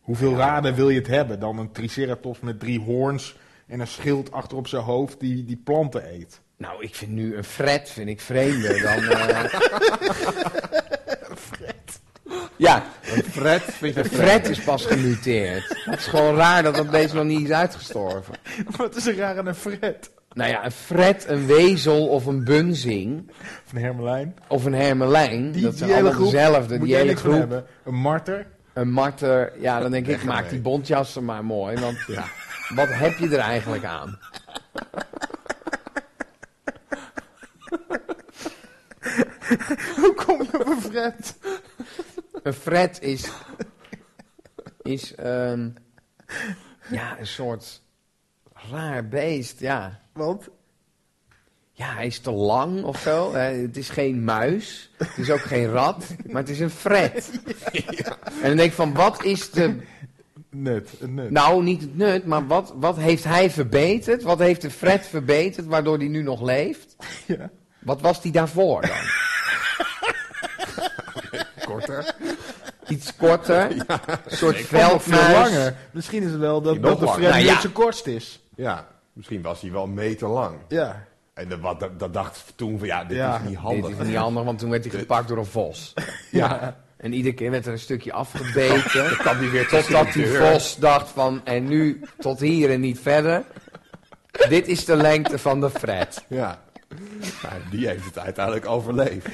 S3: Hoeveel raden wil je het hebben dan een triceratops met drie hoorns en een schild achter op zijn hoofd die, die planten eet?
S4: Nou, ik vind nu een fret vind ik vreemder dan... <laughs> eh Ja,
S2: Een fret vind
S4: een
S2: je
S4: fret is pas gemuteerd. Het is gewoon raar dat dat beest nog niet is uitgestorven.
S3: <laughs> Wat is er raar aan een fret?
S4: Nou ja, een fret, een wezel of een bunzing
S3: Of een hermelijn?
S4: of een hermelijn, dat zijn allemaal dezelfde.
S3: moet
S4: Die
S3: jij
S4: hele
S3: niks van
S4: groep,
S3: hebben. Een marter?
S4: een marter, ja, dan denk ik,
S2: Weg
S4: maak
S2: ermee.
S4: die bontjas er maar mooi, want
S3: <laughs>
S4: wat heb je er eigenlijk aan?
S3: Hoe kom je op een fret?
S4: Een fret is, is ehm, ja, een soort raar beest, ja.
S3: Want
S4: Ja, hij is te lang of
S3: <laughs>
S4: zo. Eh, het is geen muis. Het is ook geen rat. Maar het is een fret.
S3: <laughs>
S4: En dan denk ik van, wat is de...
S3: nut, een nut.
S4: Nou, niet het nut, maar wat, wat heeft hij verbeterd? Wat heeft de fret verbeterd waardoor hij nu nog leeft?
S3: Ja.
S4: Wat was die daarvoor dan?
S2: korter.
S4: Iets korter? Een soort
S3: Veel
S4: veldmuis?
S3: langer. Misschien is het wel dat,
S2: Nog
S3: dat de
S2: langer.
S3: fret
S4: Nou ja.
S3: niet zo kortst is.
S2: Ja, misschien was hij wel een meter lang.
S3: Ja.
S2: En de- wat, dat, dat dacht toen van, ja, dit
S3: Ja,
S2: is niet
S4: Dit
S2: handig. <laughs>
S4: is niet handig, want toen werd hij gepakt door een vos.
S2: Ja,
S4: En iedere keer werd er een stukje afgebeten. <laughs> Dan kwam hij weer
S2: tussen
S4: Totdat
S2: de
S4: die
S2: deur.
S4: vos dacht van, en nu tot hier en niet verder. Dit is de lengte van de fret.
S2: ja. Maar die heeft het uiteindelijk overleefd.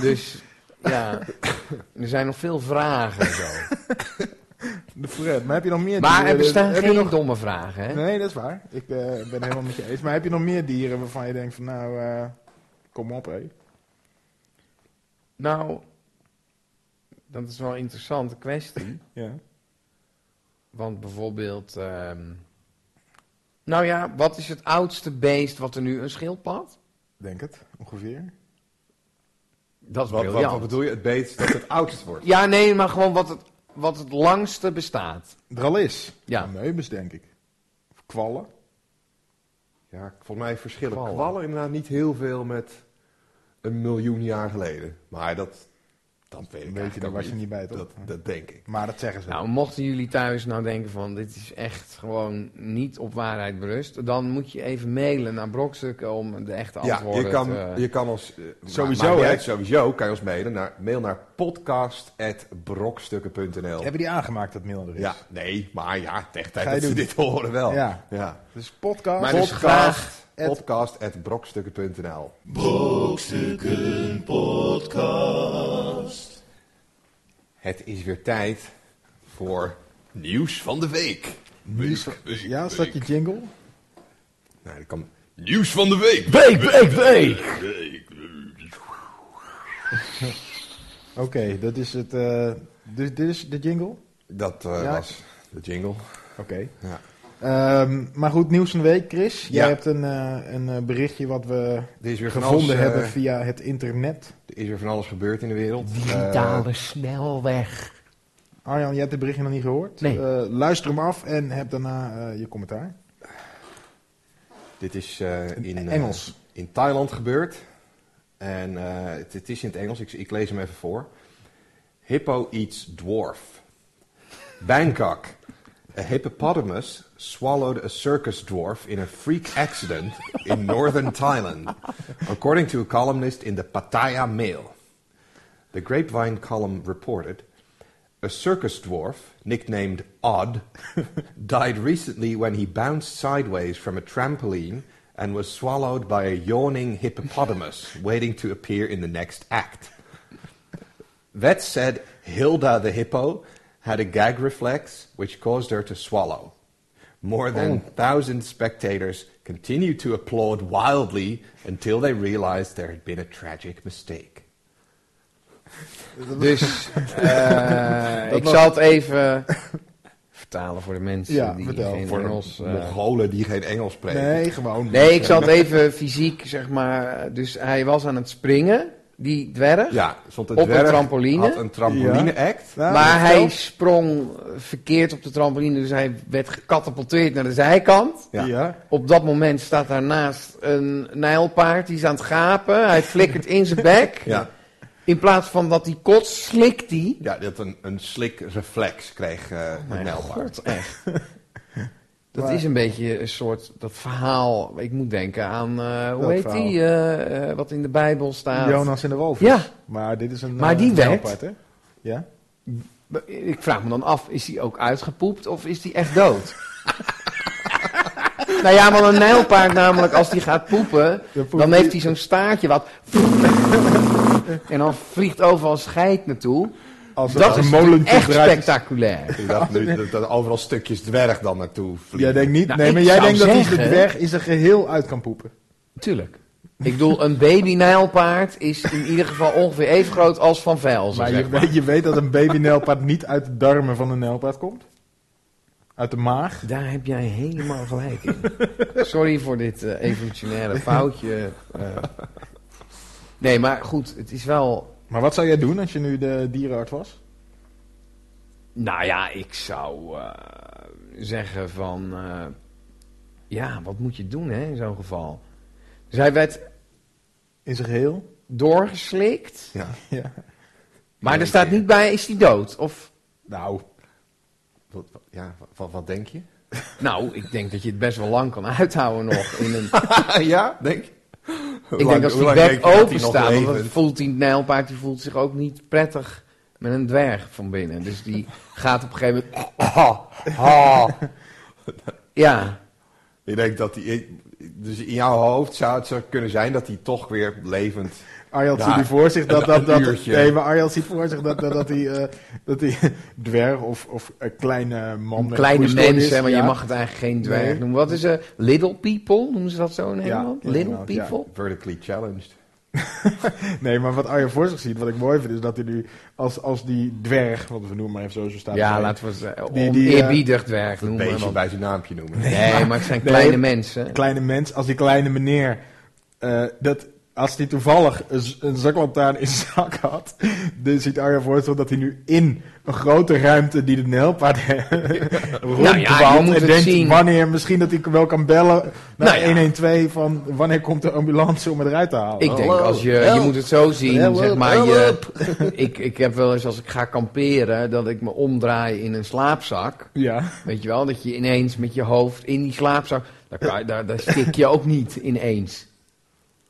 S4: Dus ja, er zijn nog veel vragen zo.
S3: De fret. Maar heb je nog meer
S4: Maar er
S3: dieren?
S4: bestaan
S3: Heb je
S4: geen
S3: nog-
S4: domme vragen, hè?
S3: Nee, dat is waar. Ik eh, ben helemaal met je eens. Maar heb je nog meer dieren waarvan je denkt van nou, eh, kom op hé.
S4: Nou, dat is wel een interessante kwestie.
S3: Ja.
S4: Want bijvoorbeeld, ehm, nou ja, wat is het oudste beest wat er nu een schildpad?
S3: Denk het, ongeveer.
S4: Dat is
S2: Wat, wat, wat
S4: briljant.
S2: bedoel je? Het beest dat het oudst wordt.
S4: Ja, nee, maar gewoon wat het, wat het langste bestaat.
S3: Dralis.
S4: Ja.
S3: Meubes, denk ik. Of kwallen.
S2: Ja, volgens mij verschillen
S4: Kwallen.
S2: kwallen. inderdaad niet heel veel met een miljoen jaar geleden. Maar dat, dat weet ik
S3: Weet je,
S2: eigenlijk
S3: daar
S2: ook
S3: was je niet bij, toch?
S2: Dat, dat denk ik.
S3: Maar dat zeggen ze.
S4: Nou, mochten jullie thuis nou denken van dit is echt gewoon niet op waarheid berust, dan moet je even mailen naar Brokstukken om de echte
S2: Ja,
S4: antwoorden
S2: je kan,
S4: te...
S2: je kan ons... eh,
S3: Sowieso,
S2: maakt niet
S3: hè?
S2: uit, Sowieso kan je ons mailen naar, mail naar podcast.brokstukken.nl
S3: Hebben die aangemaakt dat mail er is?
S2: Ja, nee, maar ja, tegen
S3: Ga
S2: tijd
S3: je
S2: dat ze
S3: doen.
S2: dit horen wel.
S3: Ja.
S2: ja.
S3: Dus podcast.
S4: Maar dus
S3: podcast.
S4: graag...
S3: at-
S2: podcast.brokstukken.nl
S1: Brokstukken podcast.
S2: Het is weer tijd voor nieuws van de week.
S3: Nieuws van-
S2: Week,
S3: ja, is dat
S2: week.
S3: je jingle?
S2: Nee, Nou, dat kan... Nieuws van de week.
S4: Week, week, week!
S1: Week.
S3: Oké, dat is het. eh, dit, dit is de jingle?
S2: Dat eh,
S3: Ja.
S2: was de jingle.
S3: Oké.
S2: Ja.
S3: Ehm, maar goed, nieuws van de week, Chris. Jij
S2: Ja.
S3: hebt een, eh, een eh, berichtje wat we
S2: Er is weer van
S3: gevonden
S2: alles, eh,
S3: hebben via het internet.
S2: Er is weer van alles gebeurd in de wereld. Eh,
S4: Digitale snelweg.
S3: Arjan, jij hebt het berichtje nog niet gehoord.
S4: Nee.
S3: Eh, luister hem af en heb daarna eh, je commentaar.
S2: Eh, dit is eh, in, eh,
S3: Engels.
S2: in Thailand gebeurd. En eh, het, het is in het Engels, ik, ik lees hem even voor. Hippo eats dwarf. Bangkok. A hippopotamus swallowed a circus dwarf in a freak accident in northern Thailand, according to a columnist in the Pattaya Mail. The Grapevine column reported a circus dwarf, nicknamed Odd, <laughs> died recently when he bounced sideways from a trampoline and was swallowed by a yawning hippopotamus waiting to appear in the next act. That said, Hilda the hippo had a gag reflex which caused her to swallow. More than 1,000 spectators continued to applaud wildly until they realized there had been a tragic mistake. <laughs>
S4: Dus eh, ik zal het even <laughs> vertalen voor de mensen
S3: Ja,
S4: die
S3: vertel.
S4: geen
S2: Voor de
S4: Engels... eh,
S2: Mongolen die geen Engels spreken.
S3: Nee, gewoon.
S4: nee, ik zal het even fysiek, zeg maar... Dus hij was aan het springen, die dwerg.
S2: Ja, stond een
S4: Op een
S2: dwerg,
S4: trampoline?
S2: Had een trampoline-act.
S3: Nou,
S4: maar
S3: vertel.
S4: hij sprong verkeerd op de trampoline, dus hij werd gecatapulteerd naar de zijkant.
S2: Ja.
S3: Ja.
S4: Op dat moment staat daarnaast een nijlpaard, die is aan het gapen. Hij flikkert in zijn bek.
S2: Ja,
S4: In plaats van dat hij kotst, slikt hij.
S2: ja, dat een, een slik reflex kreeg eh
S4: Oh Mijn
S2: Nelbaard.
S4: god,
S3: <laughs>
S4: echt. Dat
S3: Maar-
S4: is een beetje een soort, dat verhaal, ik moet denken aan, eh, hoe
S3: Welk
S4: heet
S3: verhaal?
S4: die, eh, eh, wat in de Bijbel staat.
S3: Jonas in de Walvis.
S4: Ja.
S3: Maar dit is een.
S4: Maar
S3: eh,
S4: die
S3: een
S4: werd-
S3: nijlpaard, hè? Ja.
S4: Ik vraag me dan af, is hij ook uitgepoept of is hij
S3: <laughs>
S4: echt dood? nou ja, want een nijlpaard namelijk, als die gaat poepen,
S3: Dan poept
S4: dan
S3: die-
S4: heeft hij zo'n staartje wat... <laughs> en dan vliegt overal scheid naartoe.
S3: Als
S4: Dat is
S3: molen
S4: natuurlijk echt
S3: toedraait-
S4: spectaculair.
S2: Ik dacht nu dat er overal stukjes dwerg dan naartoe vliegen.
S3: Jij denkt niet.
S4: Nou,
S3: nee,
S4: ik
S3: maar jij
S4: zou
S3: denkt dat hij
S4: zeggen-
S3: de weg in zijn geheel uit kan poepen.
S4: Tuurlijk. Ik bedoel, een baby nijlpaard is in ieder geval ongeveer even groot als Van Velzen,
S3: Maar
S4: zeg
S3: je,
S4: maar.
S3: weet, je weet dat een
S4: <laughs>
S3: baby-nelpaard niet uit de darmen van een nelpaard komt? Uit de maag?
S4: Daar heb jij helemaal gelijk in. <laughs> Sorry voor dit eh, <laughs> evolutionaire foutje. eh. Nee, maar goed, het is wel...
S3: Maar wat zou jij doen als je nu de dierenarts was?
S4: Nou ja, ik zou eh, zeggen van... eh, ja, wat moet je doen hè, in zo'n geval? Dus hij werd
S3: In zijn geheel? <laughs>
S4: doorgeslikt.
S2: Ja.
S3: Ja.
S4: Maar er staat niet bij, is hij dood? Of...
S2: Nou, wat, wat- ja, wat, wat denk
S4: <laughs>
S2: je?
S4: Nou, ik denk dat je het best wel lang kan <laughs> uithouden nog in een...
S2: ja, denk je? Hoe
S4: Ik
S2: lang-
S4: denk als
S2: hoe
S4: die
S2: lang denk je
S4: bek
S2: dat die
S4: open
S2: nog
S4: staat, want dan <laughs>
S2: levend-
S4: voelt die nijlpaard die voelt zich ook niet prettig met een dwerg van binnen. Dus die gaat op een gegeven moment...
S2: Ha, ha.
S4: Ja,
S2: Je denkt dat die... Dus in jouw hoofd zou het zo kunnen zijn dat hij toch weer levend...
S3: Arjald
S2: Ja,
S3: ziet nu voor zich dat...
S2: een-
S3: dat,
S2: een
S3: dat
S2: uurtje.
S3: nee, maar Arjald ziet voor zich dat, dat, dat hij... eh, dat hij <laughs> dwerg of, of een kleine man
S4: een
S3: met
S4: kleine
S3: groeistoornis,
S4: mens, hè, maar je
S3: ja.
S4: mag het eigenlijk geen dwerg
S3: Nee.
S4: noemen. Wat is eh Little people, noemen ze dat zo in Nederland?
S3: ja,
S4: little
S3: inderdaad, ja.
S4: people?
S2: Vertically challenged.
S3: Nee, maar wat Arjan voor zich ziet, wat ik mooi vind, is dat hij nu... Als, als die dwerg, want we noemen maar even zo, zo
S4: Ja,
S3: staat hij.
S4: laten we het eh,
S3: Die- die, eh,
S4: oneerbiedig dwerg
S2: Een
S4: noemen.
S2: beetje
S4: want-
S2: bij zijn naampje noemen.
S4: Nee, maar het zijn
S3: Nee.
S4: kleine mensen.
S3: kleine mens, als die kleine meneer, eh, dat als die toevallig een, z- een zaklantaarn in zijn zak had, dan ziet Arjen voorstel dat hij nu in een grote ruimte die de <laughs> nelpaard
S4: Nou ja, je
S3: rondwaalt
S4: moet
S3: en
S4: het
S3: denkt
S4: zien.
S3: wanneer, misschien dat hij wel kan bellen naar
S4: Nou ja.
S3: 112 van wanneer komt de ambulance om het eruit te halen.
S4: Ik denk, als je, je moet het zo zien, zeg maar, je, <laughs> ik, ik heb wel eens als ik ga kamperen, dat ik me omdraai in een slaapzak.
S3: Ja,
S4: Weet je wel, dat je ineens met je hoofd in die slaapzak. Daar, kan, daar, daar stik je ook niet ineens.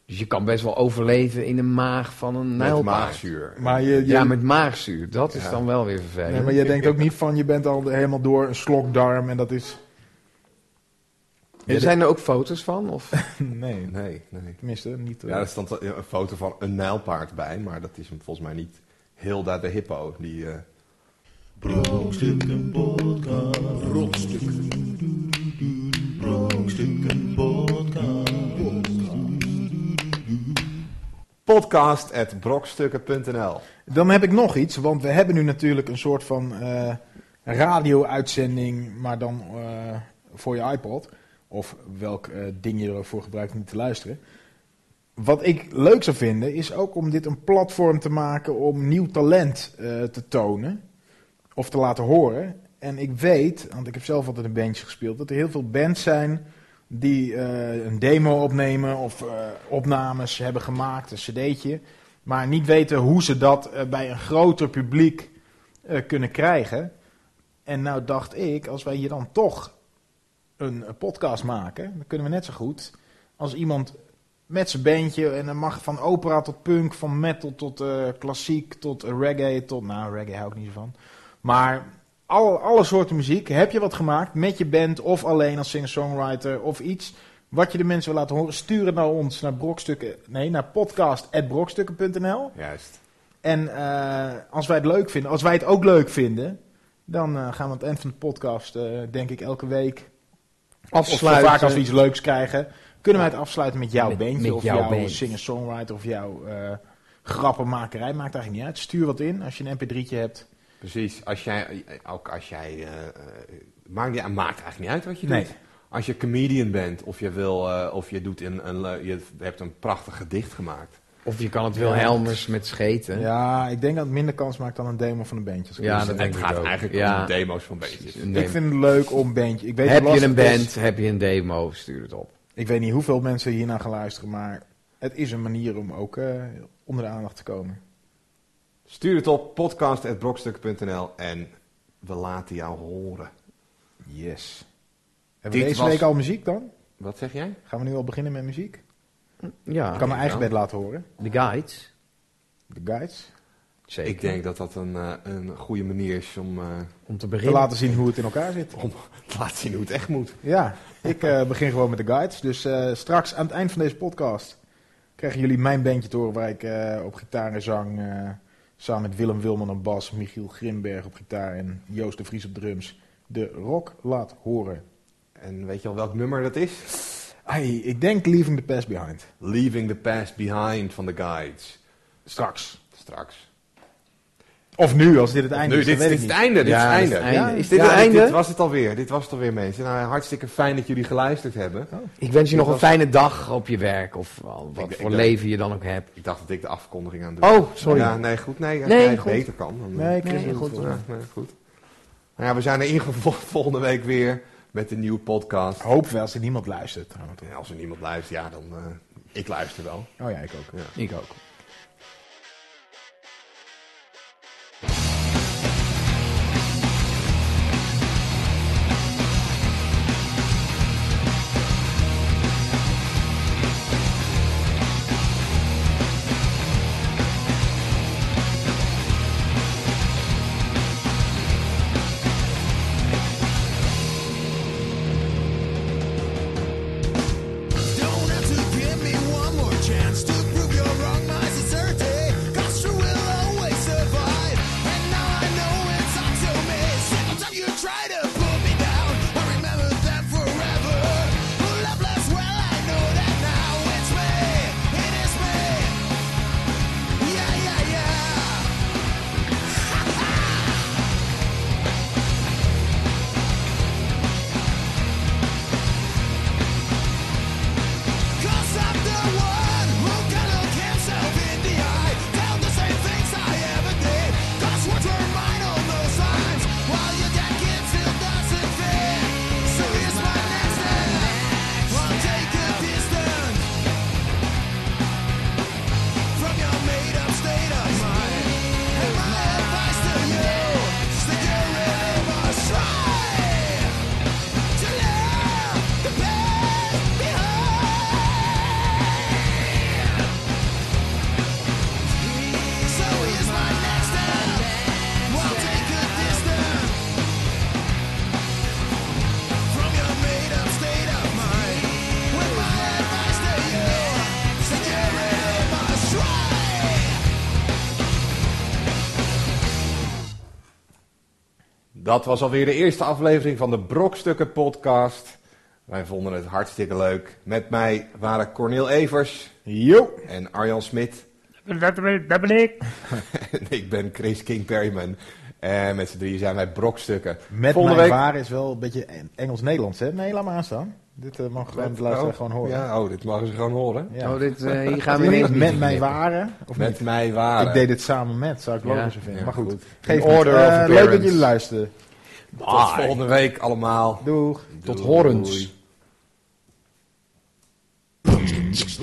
S4: Dus je kan best wel overleven in de maag van een
S2: Met
S4: nijlpaard.
S2: maagzuur.
S3: maar je, je,
S4: Ja, met maagzuur. Dat is
S2: Ja.
S4: dan wel weer vervelend.
S3: nee, maar je denkt ook niet van je bent al helemaal door een slokdarm en dat is... <laughs>
S4: Er zijn er ook foto's van? Of?
S3: <laughs> Nee,
S2: Nee, nee.
S3: tenminste, niet... eh,
S2: Ja, er stond een foto van een nijlpaard bij, maar dat is hem volgens mij niet Hilda de hippo. Die, eh,
S1: Brokstukken podcast. Brokstukken podcast.
S2: podcast at brokstukken.nl.
S3: Dan heb ik nog iets, want we hebben nu natuurlijk een soort van eh, radio-uitzending, maar dan eh, voor je iPod. Of welk eh, ding je er ook voor gebruikt om niet te luisteren. Wat ik leuk zou vinden, is ook om dit een platform te maken om nieuw talent eh, te tonen. Of te laten horen. En ik weet, want ik heb zelf altijd in bandjes gespeeld, dat er heel veel bands zijn die eh, een demo opnemen of eh, opnames hebben gemaakt, een cd'tje maar niet weten hoe ze dat eh, bij een groter publiek eh, kunnen krijgen. En nou dacht ik, als wij hier dan toch een eh, podcast maken, dan kunnen we net zo goed als iemand met zijn bandje en dan mag van opera tot punk, van metal tot eh, klassiek, tot eh, reggae, tot nou reggae hou ik niet zo van. Maar alle, alle soorten muziek, heb je wat gemaakt met je band of alleen als singer-songwriter of iets wat je de mensen wil laten horen, stuur het naar ons naar brokstukken, nee, naar podcast@brokstukken.nl.
S2: Juist.
S3: En eh, als wij het leuk vinden, als wij het ook leuk vinden, dan eh, gaan we aan het eind van de podcast, eh, denk ik, elke week. Of
S4: Afsluiten.
S3: vaak als we iets leuks krijgen, kunnen wij het afsluiten met jouw
S4: Met-
S3: bandje.
S4: met
S3: of
S4: jouw
S3: jouw
S4: band.
S3: singer-songwriter of jouw eh, grappenmakerij. Maakt eigenlijk niet uit. Stuur wat in als je een mp3'tje hebt.
S2: Precies. Als jij, eh, ook als jij, eh, eh, maakt, niet- maakt eigenlijk niet uit wat je
S3: Nee.
S2: doet. Als je comedian bent of je, wil, eh, of je, doet een, een, le- je hebt een prachtig gedicht gemaakt.
S4: Of je kan het Wilhelmers met scheten.
S3: Ja, ik denk dat het minder kans maakt dan een demo van een bandje. als ik
S4: Ja,
S3: eerlijk
S4: dat
S3: ben.
S4: denk
S2: Dus het
S4: ik
S2: gaat
S4: ook.
S2: eigenlijk
S4: Ja.
S2: om de demo's van beetjes.
S4: Nee.
S3: Ik vind het leuk om bandje. Ik weet
S4: heb
S3: hoe
S4: je een
S3: lastig het is.
S4: band, heb je een demo, stuur het op.
S3: Ik weet niet hoeveel mensen hiernaar gaan luisteren, maar het is een manier om ook eh, onder de aandacht te komen.
S2: Stuur het op podcast.brokstuk.nl en we laten jou horen.
S3: Yes. Hebben we
S2: Dit
S3: deze
S2: was-
S3: week al muziek dan?
S2: Wat zeg jij?
S3: Gaan we nu al beginnen met muziek? Ik
S4: Ja,
S3: kan mijn eigen
S2: Ah, ja.
S3: bed laten horen.
S4: de guides.
S3: De guides.
S4: Zeker.
S2: Ik denk dat dat een, eh, een goede manier is om eh,
S4: Om te
S3: Te
S4: beginnen.
S3: laten zien hoe het in elkaar zit.
S2: te laten zien hoe het echt moet.
S3: Ja, ik eh, begin gewoon met de guides. Dus eh, straks aan het eind van deze podcast krijgen jullie mijn bandje te horen waar ik eh, op gitaar en zang. eh, samen met Willem Wilman op bas, Michiel Grimberg op gitaar en Joost de Vries op drums. De rock laat horen.
S2: En weet je al welk nummer dat is?
S3: Hey, ik denk Leaving the Past Behind.
S2: Leaving the Past Behind van The Guides.
S3: Straks.
S2: Straks.
S3: Of nu, als dit het einde
S2: nu,
S3: is. dat
S2: dit, dit
S3: weet
S2: is
S3: ik
S2: het
S3: niet.
S2: einde. Dit
S4: Ja,
S2: is het
S4: dit is
S2: einde.
S4: het einde. Is
S2: dit,
S4: dit het
S2: dit-
S4: einde?
S2: dit was het alweer. Dit was het alweer, mensen. Nou, hartstikke fijn dat jullie geluisterd hebben.
S4: Ik wens je nog een
S2: was-
S4: fijne dag op je werk of eh,
S2: Ik-
S4: wat
S2: ik
S4: voor
S2: denk-
S4: leven je dan ook hebt.
S2: Ik dacht dat ik de afkondiging aan doe.
S4: Oh, sorry.
S2: Ja, nee, goed. Nee, als
S4: Nee,
S2: jij het
S4: goed.
S2: beter kan. Dan, eh,
S3: Nee, ik
S4: Nee,
S3: nee,
S4: goed.
S3: goed.
S2: Ja, nee, goed. Nou ja, we zijn er ingevolgd volgende week weer met een nieuwe podcast.
S3: Hoop wel als er niemand luistert. trouwens.
S2: En als er niemand luistert, ja, dan... eh, ik luister wel.
S3: Oh ja, ik ook.
S4: Ik ook.
S6: Don't have to give me one more chance to prove you're wrong. My sincerity, 'cause true will always survive. And now I know it's up to me. Every time you try to put me down, I remember that forever. Who loved less? Well, I know that now. It's me. It is me. Yeah, yeah, yeah. Cause I'm the one who can look himself in the eye. Tell the same things I ever did. Cause words were mine all those times. While your dead kid still doesn't fit. So here's my next step. I'll take a distance from your made up state of mind. And my advice to you is that you really must try. To love the past behind. So here's my next step. We'll take a distance from your made-up state of mind. With my advice to you, security must try.
S2: Dat was alweer de eerste aflevering van de Brokstukken podcast. Wij vonden het hartstikke leuk. Met mij waren Cornel Evers
S3: Jo!
S2: en Arjan Smit. <laughs>
S7: Dat ben, dat ben ik.
S2: En ik ben Chris King Perryman. En met z'n drieën zijn wij Brokstukken.
S3: Met
S2: volgende
S3: mijn
S2: week...
S3: waar is wel een beetje Eng- Engels-Nederlands, hè? Nee, laat maar aanstaan. Dit eh, mag gewoon de luisteraar gewoon horen.
S2: Ja, oh, dit mogen ze gewoon horen.
S3: Ja.
S4: Oh, dit, eh,
S3: <laughs>
S4: hier gaan we
S3: Met-
S4: ineens
S3: met mij
S4: waar.
S3: waren, of
S2: Met
S3: niet?
S2: mij waren.
S3: Ik deed dit samen met, zou ik
S4: Ja.
S3: logischer vinden.
S2: Ah, Ja,
S3: maar goed,
S2: goed.
S3: geef
S4: In
S3: niet.
S4: order of
S3: Eh, Leuk dat
S4: appearance.
S3: jullie luisterden.
S2: Tot volgende week allemaal.
S3: Doeg!
S4: Tot
S2: Doei.
S4: horens.